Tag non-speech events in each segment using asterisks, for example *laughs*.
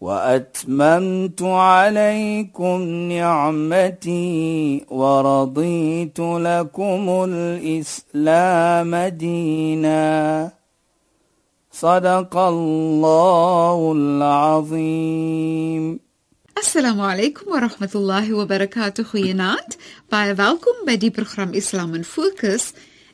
واتممت عليكم نعمتي ورضيت لكم الاسلام دينا صدق الله العظيم Assalamu alaykum wa rahmatullahi wa barakatuh. Goeienaand. Baie welkom by die program Islam in Fokus.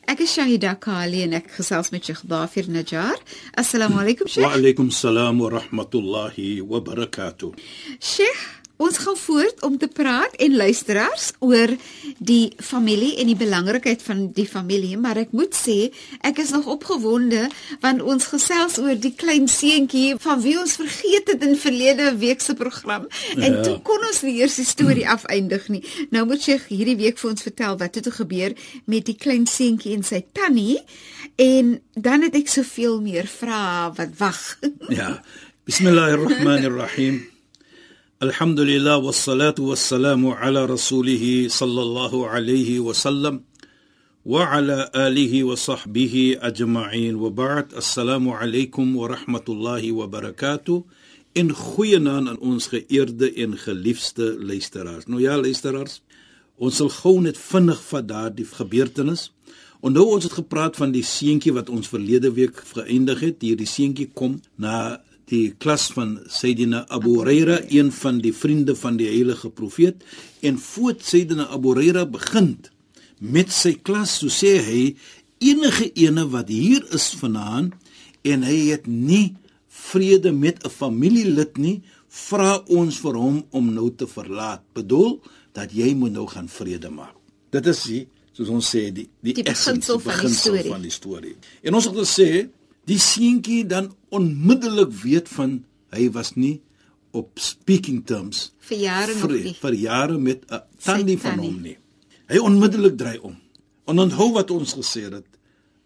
Ek is Shahida Kali en ek gesels met Sheikh Dafir Najjar. Assalamu alaykum Sheikh. وعليكم السلام ورحمة الله وبركاته Sheikh, ons gaan voort om te praat en luisteraars oor die familie en die belangrikheid van die familie, maar ek moet sê, ek is nog opgewonde want ons gesels oor die klein seentjie van wie ons vergeet het in verlede week se program en ja. Ja. toe kon ons nie eers die storie afeindig nie. Nou moet Sheikh hierdie week vir ons vertel wat het er gebeur met die klein seentjie en sy tannie en dan het ek soveel meer vrae wat wag. *laughs* يا. بسم الله الرحمن الرحيم الحمد لله والصلاة والسلام على رسوله صلى الله عليه وسلم وعلى آله وصحبه أجمعين وبعد السلام عليكم ورحمة الله وبركاته En goeienaand aan ons geëerde en geliefde luisteraars. Nou ja, luisteraars, ons sal gou net vinnig vat daardie gebeurtenis. Onthou ons het gepraat van die seentjie wat ons verlede week geëindig het. Hierdie seentjie kom na die klas van Sayyidina Abu Huraira, een van die vriende van die heilige profeet, en voor Sayyidina Abu Huraira begin met sy klas, so sê hy, enige ene wat hier is vanaand en hy het nie vrede met 'n familielid nie, vra ons vir hom om nou te verlaat. Bedoel dat jy moet nou gaan vrede maak. Dit is die soos ons sê die die, Die essence, beginsel van die storie. van die storie. En ons het gesê die seentjie dan onmiddellik weet van hy was nie op speaking terms Vir jare nog vir, nie. vir jare met 'n Sy tannie van tannie. hom nie. Hy onmiddellik draai om. En onthou wat ons gesê het.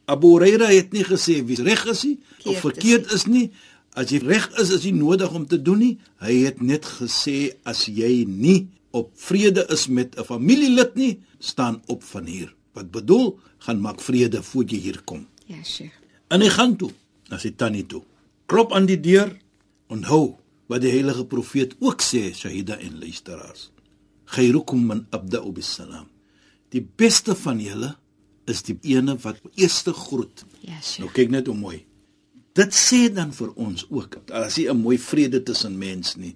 Abu Huraira het nie gesê wie reg is nie of Verkeerd is verkeerd is nie. As jy reg is, is nie nodig om te doen nie. Hy het net gesê as jy nie op vrede is met 'n familielid nie, staan op van hier. Wat bedoel, gaan maak vrede voor jy hier kom. Ja, Sheikh. En hy gaan toe, na sy tannie toe. Klop aan die deur. Onthou wat die heilige profeet ook sê, Shahida en luisteraars. Khairukum man abda'u bis-salam. Die beste van julle is die ene wat eerste groet. Ja, Nou Sheikh. kyk net hoe mooi. Dit sê dan vir ons ook, daar is nie 'n mooi vrede tussen mens nie.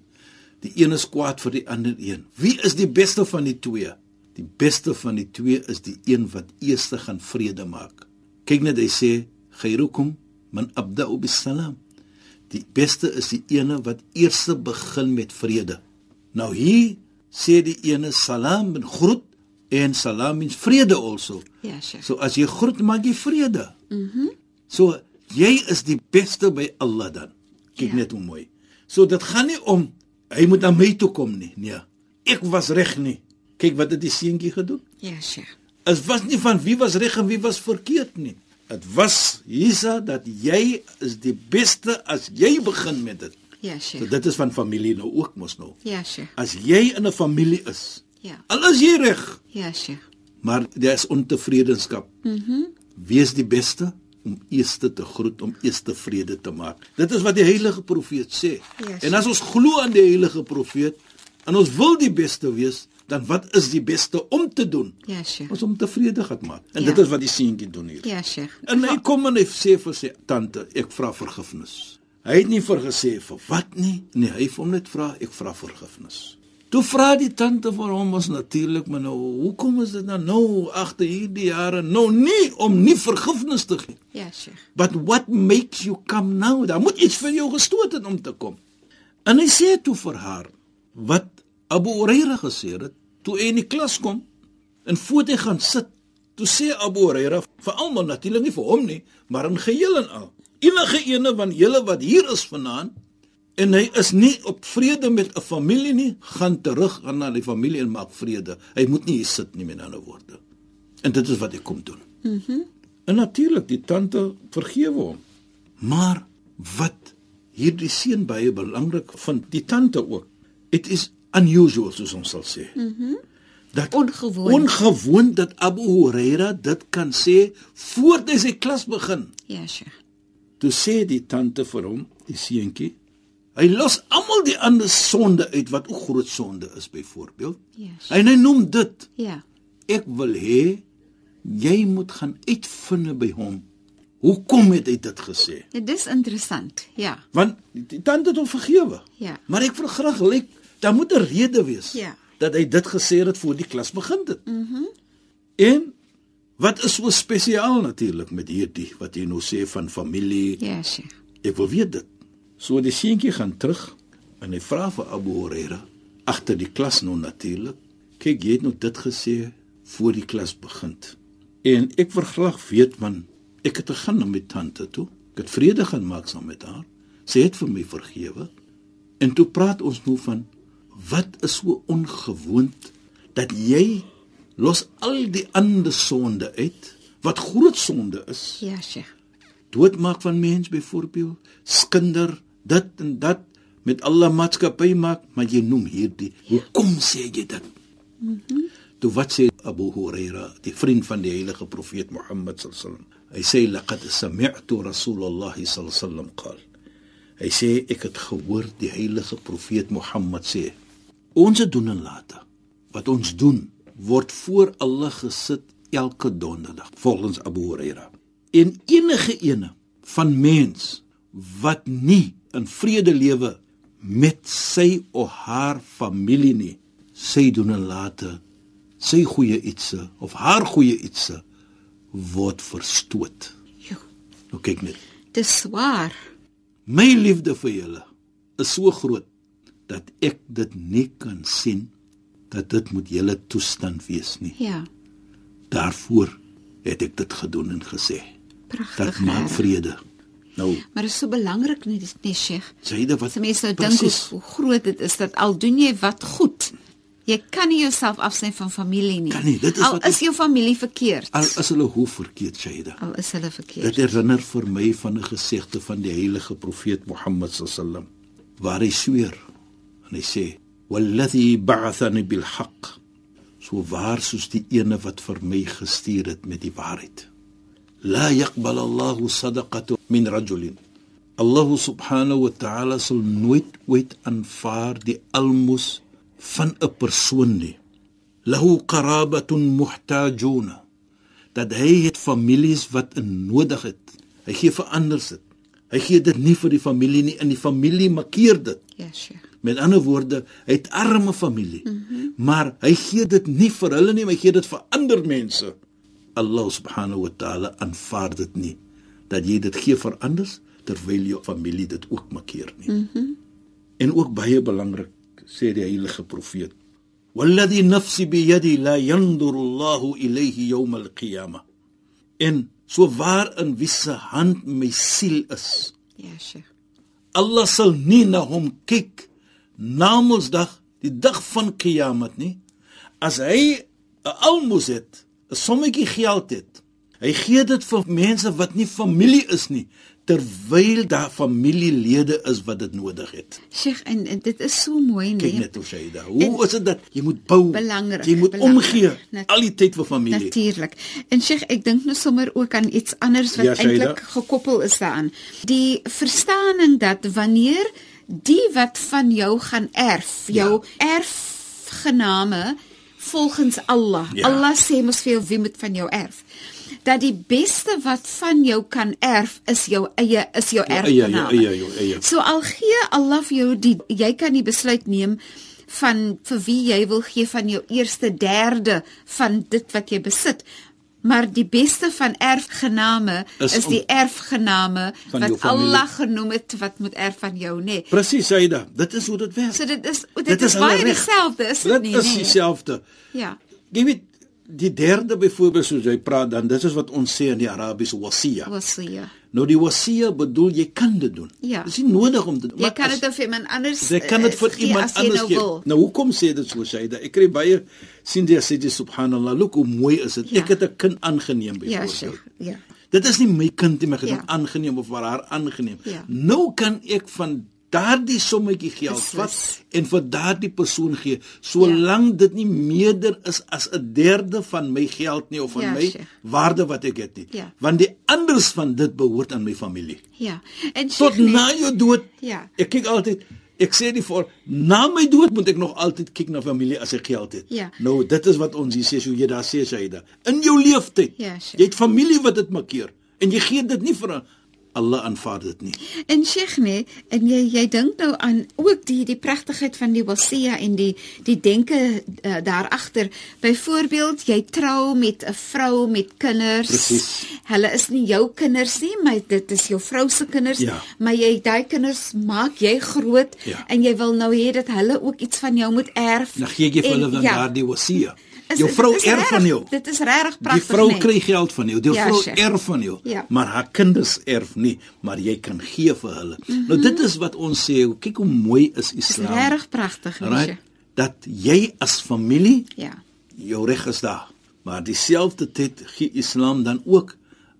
Die een is kwaad vir die ander een. Wie is die beste van die twee? Die beste van die twee is die een wat eers gaan vrede maak. Kyk net hy sê, "Khairukum man abda'u bis-salam." Die beste is die ene wat eers begin met vrede. Nou hier sê die ene salam en groet en salam is vrede also. Ja, Sheikh. So as jy groet maak jy vrede. Mhm. Mm so jy is die beste by Allah dan. Ja. Kyk ja. net hoe mooi. So dit gaan nie om hy moet aan my toe kom nie. Nee. Ek was reg nie. Kyk wat het die seentjie gedoen. Ja, Sheikh. Dit was nie van wie was reg en wie was verkeerd nie. Dit was Isa dat jy is die beste as jy begin met dit. Ja, So Sheikh. dit is van familie nou ook mos nou. Ja, Sheikh. As jy in 'n familie is, Ja. al is jy reg, Ja, Sheikh. maar daar is ontevredenskap. Mhm. Mm Wees die beste om eers te groet, om eers vrede te maak. Dit is wat die heilige profeet sê. Yes. En as ons glo aan die heilige profeet en ons wil die beste wees, dan wat is die beste om te doen? Ja, Sheikh. Ons om tevrede gaan maak. En Ja. dit is wat die seentjie doen hier. Ja, Sheikh. En hy kom en hy sê vir sy tante, ek vra vergifnis. Hy het nie vir gesê vir wat nie. Nee, hy het hom net vra, ek vra vergifnis. Toe vra die tante vir hom ons natuurlik, maar nou, hoekom is dit nou nou agter hierdie jare nou nie om nie vergifnis te gee? Ja, Sheikh. But what makes you come now? Daar moet iets vir jou gestoot het om te kom. En hy sê toe vir haar wat Abu Huraira gesê het toe hy in die klas kom en voor hy gaan sit. Toe sê Abu Huraira vir almal natuurlik nie vir hom nie, maar in geheel en al. Enige ene van julle wat hier is vanaand en hy is nie op vrede met 'n familie nie, gaan terug gaan na die familie en maak vrede. Hy moet nie hier sit nie met ander woorde. En dit is wat hy kom doen. Mhm. Mm en natuurlik die tante vergewe hom. Maar wat hierdie seun baie belangrik vind, die tante ook. It is unusual soos ons sal sê. Mhm. Mm dat Ongewoon. ongewoon dat Abu Huraira dit kan sê voordat hy sy klas begin. Ja, Sheikh. Toe sê die tante vir hom, die seentjie, hy los almal die ander sonde uit wat ook groot sonde is byvoorbeeld. Yes. En hy noem dit, Ja. ek wil hê jy moet gaan uitvind by hom. Hoekom het hy dit gesê? Ja, dis interessant. Ja. Want die tante het hom vergewe. Ja. Maar ek wil graag lyk daar moet 'n rede wees Ja. dat hy dit gesê het voor die klas begin het. Mhm. Mm en wat is so spesiaal natuurlik met hierdie wat jy nou sê van familie? Ja, Sheikh. Ek wil weet dit. So die seentjie gaan terug en hy vra vir Abu Huraira agter die klas nou natuurlik. Kyk, jy het nou dit gesê voor die klas begin. En ek verglag weet man, ek het gegaan na my tante toe. Ek het vrede gaan maak saam met haar. Sy het vir my vergewe. En toe praat ons nou van wat is so ongewoond dat jy los al die ander sonde uit wat groot sonde is. Ja, Sheikh. Doodmaak van mens byvoorbeeld, skinder, dit en dat met alle maatskappy maak, maar jy noem hierdie. Hoekom sê jy dit? Mhm. Mm toe wat sê Abu Huraira, die vriend van die heilige profeet Mohammed sallam? Hy sê laqad sami'tu Rasulullah sallam qaal. Hy sê ek het gehoor die heilige profeet Mohammed sê: Ons doen en late. Wat ons doen word voor Allah gesit elke donderdag volgens Abu Huraira. En enige ene van mens wat nie in vrede lewe met sy of haar familie nie, sy doen en late, sy goeie ietsie of haar goeie ietsie word verstoot. Jo. Nou kyk net. Dis swaar. My liefde vir julle is so groot dat ek dit nie kan sien dat dit moet julle toestand wees nie. Ja. Daarvoor het ek dit gedoen en gesê. Pragtig. Dat maak regtig. vrede. Nou, Maar dit is so belangrik net dis nie, Sheikh. Zaida wat As mense nou dink hoe, hoe groot dit is dat al doen jy wat goed, jy kan nie jouself afsny van familie nie. Kan nie, dit is al wat is jou familie verkeerd. al is hulle hoe verkeerd Zaida. al is hulle verkeerd. Dit herinner vir my van 'n gesegde van die heilige profeet Mohammed sallam waar hy sweer en hy sê: "Wallazi ba'athani bil haqq" so waar soos die ene wat vir my gestuur het met die waarheid. La yaqbal Allah sadaqatu min rajulin. Allah subhanahu wa ta'ala sal nooit ooit aanvaar die almos van 'n persoon nie. Lahu qarabatun muhtajuna dat hy het families wat in nodig het. Hy gee vir ander dit. Hy gee dit nie vir die familie nie en die familie makkeer dit. Ja, Sheikh. Met ander woorde, hy het arme familie, mm -hmm. maar hy gee dit nie vir hulle nie, maar hy gee dit vir ander mense. Allah subhanahu wa ta'ala aanvaar dit nie dat jy dit gee vir anders terwyl jou familie dit ook makkeer nie. Mm -hmm. En ook baie belangrik sê die heilige profeet: "Walladhi nafsi bi yadi la yanzuru Allahu ilayhi yawm al-qiyamah." En so waar in wie se hand my siel is, Ja, Sheikh. Allah sal nie na hom kyk na Mondsdag, die dag van Kiamat nie, as hy 'n almos het, 'n sommetjie geld het. Hy gee dit vir mense wat nie familie is nie, terwyl daar familielede is wat dit nodig het. Sheikh en, en dit is so mooi, Kyk nee. net hoe sy daar. Hoe en, is dit dat jy moet bou? Belangrik, jy moet belangrik. omgee Nat- al die tyd vir familie. Natuurlik. En Sheikh, ek dink nou sommer ook aan iets anders wat Ja, ja, Shaida. eintlik gekoppel is daaraan. Die verstaaning dat wanneer die wat van jou gaan erf, jou ja. erfgename volgens Allah. Ja. Ja. Allah sê mos vir jou wie moet van jou erf. Dat die beste wat van jou kan erf is jou eie is jou eie, erfgename. jou eie, jou eie. So al gee Allah vir jou die jy kan die besluit neem van vir wie jy wil gee van jou eerste derde van dit wat jy besit. Maar die beste van erfgename Is is, is om- die erfgename Van jou wat familie. Allah genoem het wat moet erf van jou, nê. Nee. Presies, Saida. Dit is hoe dit werk. So dit is dit, Dit dit is, is hulle baie reg. dieselfde, is dit Dit nie? is nee? dieselfde. Ja. Jy weet die derde byvoorbeeld soos jy praat dan dis is wat ons sê in die Arabiese wasiya. Wasiya. Nou die wasiya bedoel jy kan dit doen. Ja. Dis nie nodig om te doen. Jy kan dit of iemand anders Jy kan dit eh, vir gee as iemand jy anders nou gee. wil. Nou hoekom sê dit so Shaida? Ek kry baie sien jy sê jy subhanallah, look hoe mooi is dit. Ja. Ek het 'n kind aangeneem Ja, byvoorbeeld. Sheikh. Ja. Dit is nie my kind nie, maar ek het Ja. hom aangeneem of vir haar aangeneem. Ja. Nou kan ek van daardie sommetjie geld vat Beslis. en vir daardie persoon gee, solank ja. dit nie meerder is as 'n derde van my geld nie of van Ja, my Sheikh. waarde wat ek het nie. Ja. Want die anders van dit behoort aan my familie. Ja. En Tot Sheikh, nee, na jou dood. Ja. Ek kyk altyd Ek sê die voor na my dood moet ek nog altyd kyk na familie as ek geld het. Ja. Nou dit is wat ons hier sê so jy daar sê Shaida. In jou lewenstyd. Ja, Sheikh. jy het familie wat dit makkeer en jy gee dit nie vir 'n- Allah aanvaar dit nie. En Sheikh nee, en jy jy dink nou aan ook die die pragtigheid van die wasiya en die die denke uh, daar agter. Byvoorbeeld, jy trou met 'n vrou met kinders. Presies. Hulle is nie jou kinders nie, maar dit is jou vrou se kinders, Ja. maar jy daai kinders maak jy groot Ja. en jy wil nou hê dat hulle ook iets van jou moet erf. Dan gee jy vir En hulle dan ja, daardie wasiya. is- Jou dit vrou is erf van reg, jou. Dit is regtig Die pragtig. vrou nee. kry geld van jou, die Ja, vrou Sheikh. erf van jou, Ja. maar haar kinders erf nie, maar jy kan gee vir hulle. Mm -hmm. Nou dit is wat ons sê, kyk hoe mooi is Dit Islam. Mhm. is regtig pragtig, nee, Right? Sheikh. Dat jy as familie Ja. jou reg is daar. Maar dieselfde tyd gee Islam dan ook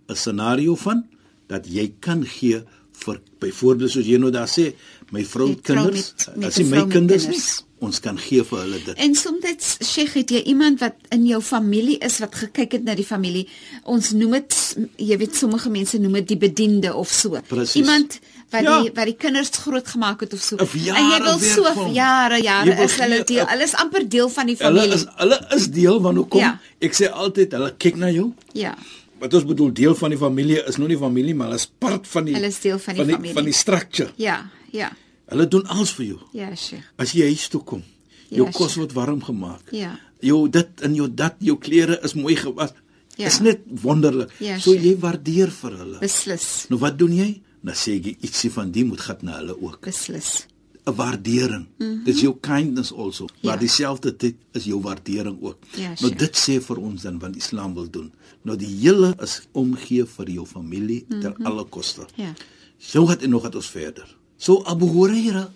'n scenario van dat jy kan gee vir byvoorbeeld soos jy nou daar sê, my vrou Met het vrou kinders, met- met as een jy my vrou met kinders nie, kinders. ons kan gee vir hulle dit. En soms Sheikh het jy iemand wat in jou familie is wat gekyk het na die familie. Ons noem dit jy weet sommige mense noem dit die bediende of so. Precies. Iemand wat Ja. die wat die kinders grootgemaak het of so. Of en jy jare wil werk so vir hom. jare Jy jare wil is hulle gee- deel. Hulle is amper deel van die Hulle familie. is hulle is deel van hoekom Ja. ek sê altyd hulle kyk na jou. ja. Wat ons bedoel deel van die familie is nou nie familie, maar hulle is part van die Hulle is deel van die familie. van die structure. Ja, ja. Hulle doen alles vir jou. Ja, Sheikh. As jy huis toe kom, jou Ja, kos sure. word warm gemaak. Ja. Jou dit en jou dat, jou klere is mooi gewas. Ja. Is net wonderlik. Ja, so sure. jy waardeer vir hulle. Beslis. nou wat doen jy? Dan sê jy ietsie van die moet gat na hulle ook. Beslis. 'n Waardering. Mm -hmm. Dis jou kindness also. Mhm. Ja. Maar dieselfde tyd is jou waardering ook. Ja, nou sure. dit sê vir ons dan wat Islam wil doen. Nou die hele is omgee vir jou familie Mhm. mm -hmm. ter alle koste. Ja. So het en nog het ons verder. So Abu Huraira,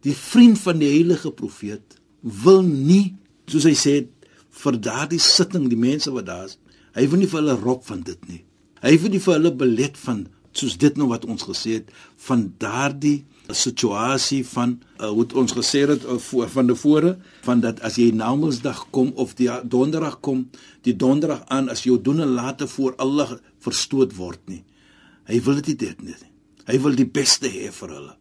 die vriend van die heilige profeet, wil nie, soos hy sê, vir daardie sitting, die mense wat daar is, hy wil nie vir hulle rop van dit nie. Hy wil nie vir hulle belet van soos dit nou wat ons gesê het van daardie situasie van uh, hoe het ons gesê het uh, voor, van tevore van dat as jy na Woensdag kom of die donderdag kom, die donderdag aan as jou doen en late voor Allah verstoot word nie. Hy wil dit nie dit nie. Hy wil die beste hê vir hulle.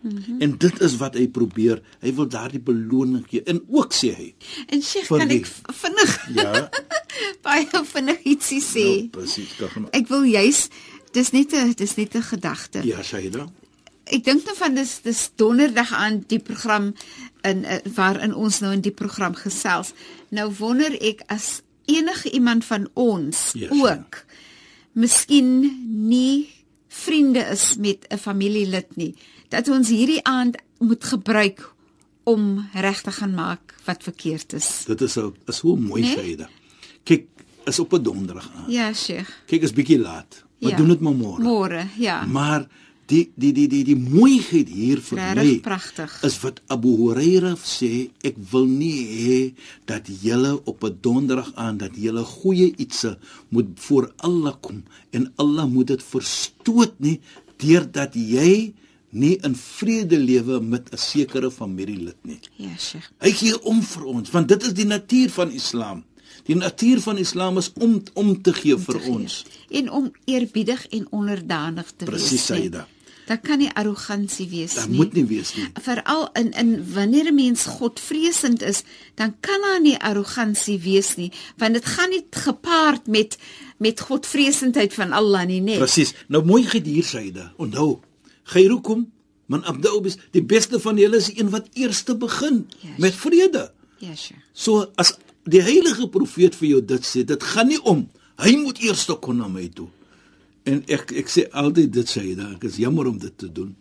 Mm -hmm. En dit is wat hy probeer. Hy wil daardie beloning gee. En ook sê hy. En Sheikh, Vir kan wie? ek v- vinnig Ja, *laughs* *laughs* baie vinnig ietsie sê? nou, presies. Kagma. Ek wil juis dis net 'n dis net 'n gedagte. Ja, Shaida. Ek dink nou van dis dis donderdag aan die program in eh, waarin ons nou in die program gesels. Nou wonder ek as enige iemand van ons Ja, sure. ook miskien nie vriende is met 'n familielid nie, dat ons hierdie aand moet gebruik om reg te gaan maak wat verkeerd is. Dit is 'n is so mooi nee? Nee? Shaida. Kyk, is op 'n donderdag aan. Ja, Sheikh. Kyk, is bietjie laat. Maar Ja. ja. doen dit maar môre. Môre, ja. Maar die die die die die mooiheid hier vir Regtig my pragtig. nee, is wat Abu Huraira sê, ek wil nie hê dat julle op 'n donderdag aan dat julle goeie ietsie moet voor Allah kom en Allah moet dit verstoot nie deurdat jy nie in vrede lewe met 'n sekere familielid nie. Ja, Sheikh. Hy gee om vir ons want dit is die natuur van Islam. Die natuur van Islam is om om te gee vir te gee. ons. en om eerbiedig en onderdanig te wees. Presies, nie. Saida. Daar kan nie arrogansie wees Daar nie. moet nie wees nie. Veral in in wanneer 'n mens godvreesend is, dan kan daar nie arrogansie wees nie, want dit gaan nie gepaard met met godvreesendheid van Allah nie, nee. né? Presies. Nou mooi gedier Saida. Onthou, khairukum man abda'u bis die beste van julle is die een wat eerste begin Yes. met vrede. Ja, Sheikh. So as die heilige profeet vir jou dit sê, dit gaan nie om hy moet eers kom na my toe. En ek ek sê altyd dit Saida, ek is jammer om dit te doen.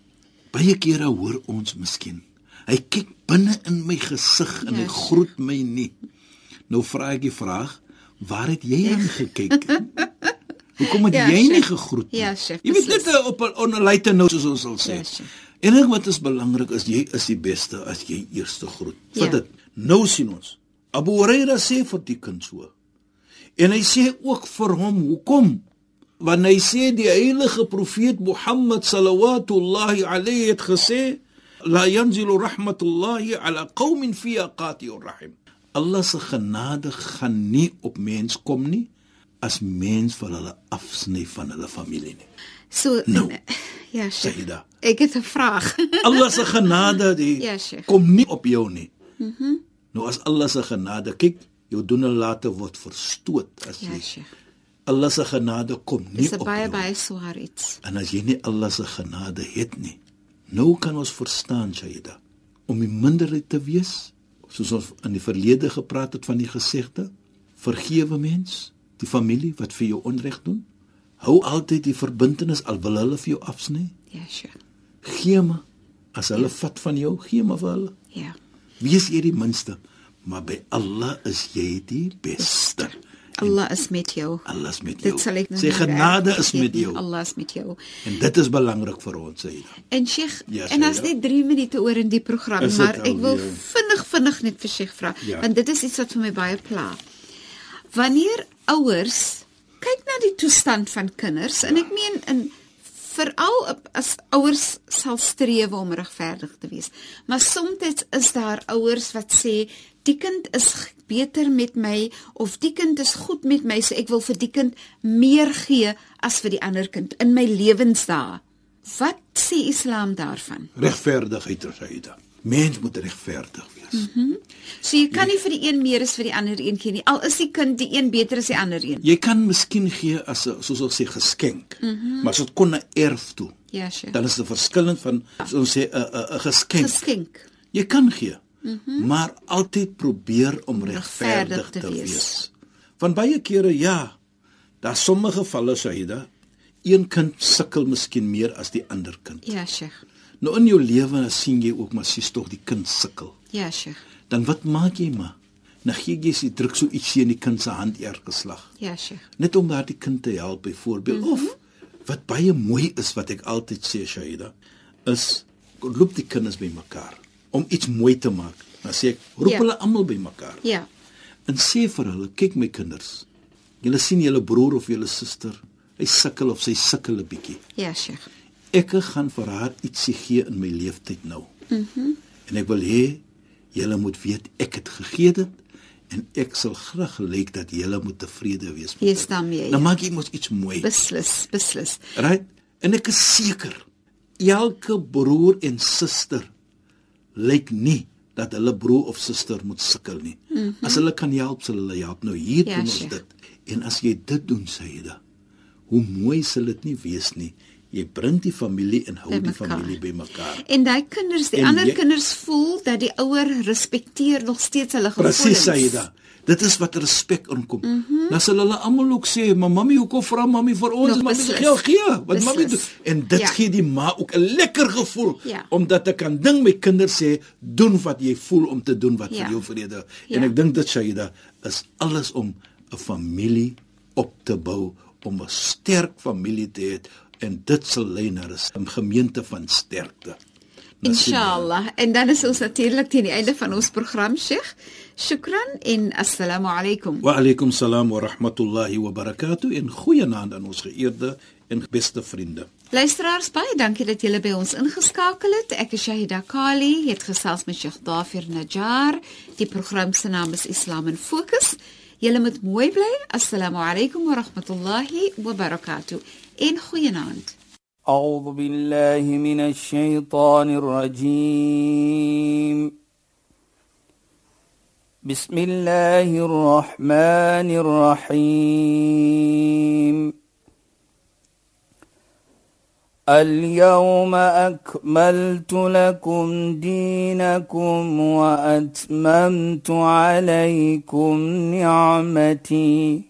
Baie kere hoor ons miskien. Hy kyk binne in my gesig en Ja, hy Sheikh. groet my nie. Nou vra ek die vraag, Waar het jy aan gekyk? *laughs* Hoekom het Ja, jy nie chef. gegroet nie? Ja, chef, jy weet net beslis. eh, op 'n on 'n lighter note soos ons sal sê. Ja, chef. en ding wat is belangrik is jy is die beste as jy eers groet. Ja. Vat dit. Nou sien ons. Abu Huraira sê vir die kind so. En hy sê ook vir hom hoekom? Want hy sê die heilige profeet Mohammed sallallahu alayhi het gesê la yanzilu rahmatullahi ala qaumin fi qati'ur rahim. Allah se genade gaan nie op mens kom nie as mens van hulle afsny van hulle familie nie. So Nou, ja, Sheikh. Saida. Ek het 'n vraag. *laughs* Allah se genade die Ja, Sheikh. kom nie op jou nie. Mhm. nou as Allah se genade kyk, jou doen en late word verstoot as ja, jy. Sheikh. Allah se genade kom nie Dis 'n op baie jou. baie swaar iets. En as jy nie Allah se genade het nie, nou kan ons verstaan, Shaida, om die minderheid te wees, soos ons in die verlede gepraat het van die gesegde, vergewe mens die familie wat vir jou onreg doen. Hou altyd die verbintenis al wil hulle vir jou afsny. Ja, Sheikh. Gee maar as hulle vat van jou, gee maar vir hulle. Ja. Wees jy die minste, maar by Allah is jy die beste. Allah is met jou. Allah is met jou. Dit sal ek nou Sy nie reg genade is vergeet met nie. Nee, jou. Allah is met jou. En dit is belangrik vir ons, Shaida. En Sheikh, Ja, en as Sayyida. net 3 minute oor in die program, Is dit maar ek wil alweer? vinnig vinnig net vir Sheikh vra, Ja. want dit is iets wat vir my baie pla. Wanneer ouers kyk na die toestand van kinders en ek meen in veral op- as ouers sal streef om regverdig te wees, maar soms is daar ouers wat sê die kind is g- beter met my of die kind is goed met my, so ek wil vir die kind meer gee as vir die ander kind in my lewensdae. Wat sê Islam daarvan? regverdigheid Saida. Mens moet regverdig wees. Mm -hmm. So jy kan nie vir die een meer as vir die ander een gee nie. Al is die kind die een beter as die ander een. Jy kan miskien gee as 'n soos ons sê geskenk, mm Mhm. -hmm. maar as dit kon na erf toe, Ja, sure. dan is dit verskillend van soos ons sê 'n 'n 'n geskenk. Geskenk. Jy kan gee, mm -hmm. maar altyd probeer om regverdig regverdig Mhm. te te wees. wees. Want baie kere ja, daar sommige gevalle Saida, een kind sukkel miskien meer as die ander kind. Ja, Sheikh. Nou in jou lewe sien jy ook maar sies tog die kind sukkel. Ja, Sheikh. dan wat maak jy maar? Dan gee jy sy druk so ietsie in die kind se hand eer geslag. Ja, Sheikh. Net om daardie kind te help byvoorbeeld mm -hmm. of wat baie mooi is wat ek altyd sê Shaida is loop die kinders bymekaar om iets mooi te maak. Dan sê ek roep Ja. ja. hulle almal bymekaar Ja. en sê vir hulle kyk my kinders. Julle sien julle broer of julle suster, hy sukkel of sy sukkel 'n bietjie. Ja, Sheikh. Ek gaan vir haar ietsie gee in my lewenstyd nou. Mhm. Mm en ek wil hê julle moet weet ek het gegee dit en ek sal graag lyk dat julle moet tevrede wees met Wees dit. daarmee, ja. Dan maak jy mos iets mooi. Beslis, beslis. Right? En ek is seker elke broer en suster lyk nie dat hulle broer of suster moet sukkel nie. Mm -hmm. As hulle kan help, sal hulle help. Nou hier Mhm. Ja, ja, doen ons Sheikh. dit. En as jy dit doen, Saida, hoe mooi sal dit nie wees nie. Jy bring die familie en hou die Bymekaar. familie bymekaar. En daai kinders, die En ander jy- kinders voel dat die ouer respekteer nog steeds hulle gevoelens. Mhm. Presies, Saida. Dit is wat respek inkom. Mm -hmm. Dan sal hulle almal ook sê, "Maar mami, hoekom vra mami vir ons? Nog Mami beslis. se geld gee." Wat mami doen. Beslis. En dit Ja. ja. gee die ma ook 'n lekker gevoel Ja. omdat ek kan ding my kinders sê, "Doen wat jy voel om te doen wat Ja. ja. vir jou vrede." Ja. En ek dink dit Saida is alles om 'n familie op te bou, om 'n sterk familie te hê en dit sal lei na 'n gemeente van sterkte. Nou sien jy. Inshallah. En dan is ons natuurlik teen die einde van ons program, Sheikh. Shukran en assalamu alaykum. Wa alaykum salaam wa rahmatullahi wa barakatuh en goeienaand aan ons geëerde en beste vriende. Luisteraars, baie dankie dat julle by ons ingeskakel het. Ek is Shahida Kali, het gesels met Sheikh Dafir Najjar. Die program se naam is Islam in Fokus. Julle moet mooi bly. Assalamu alaykum wa rahmatullahi wa barakatuh. En goeienaand. أعوذ بالله من الشيطان الرجيم بسم الله الرحمن الرحيم اليوم أكملت لكم دينكم وأتممت عليكم نعمتي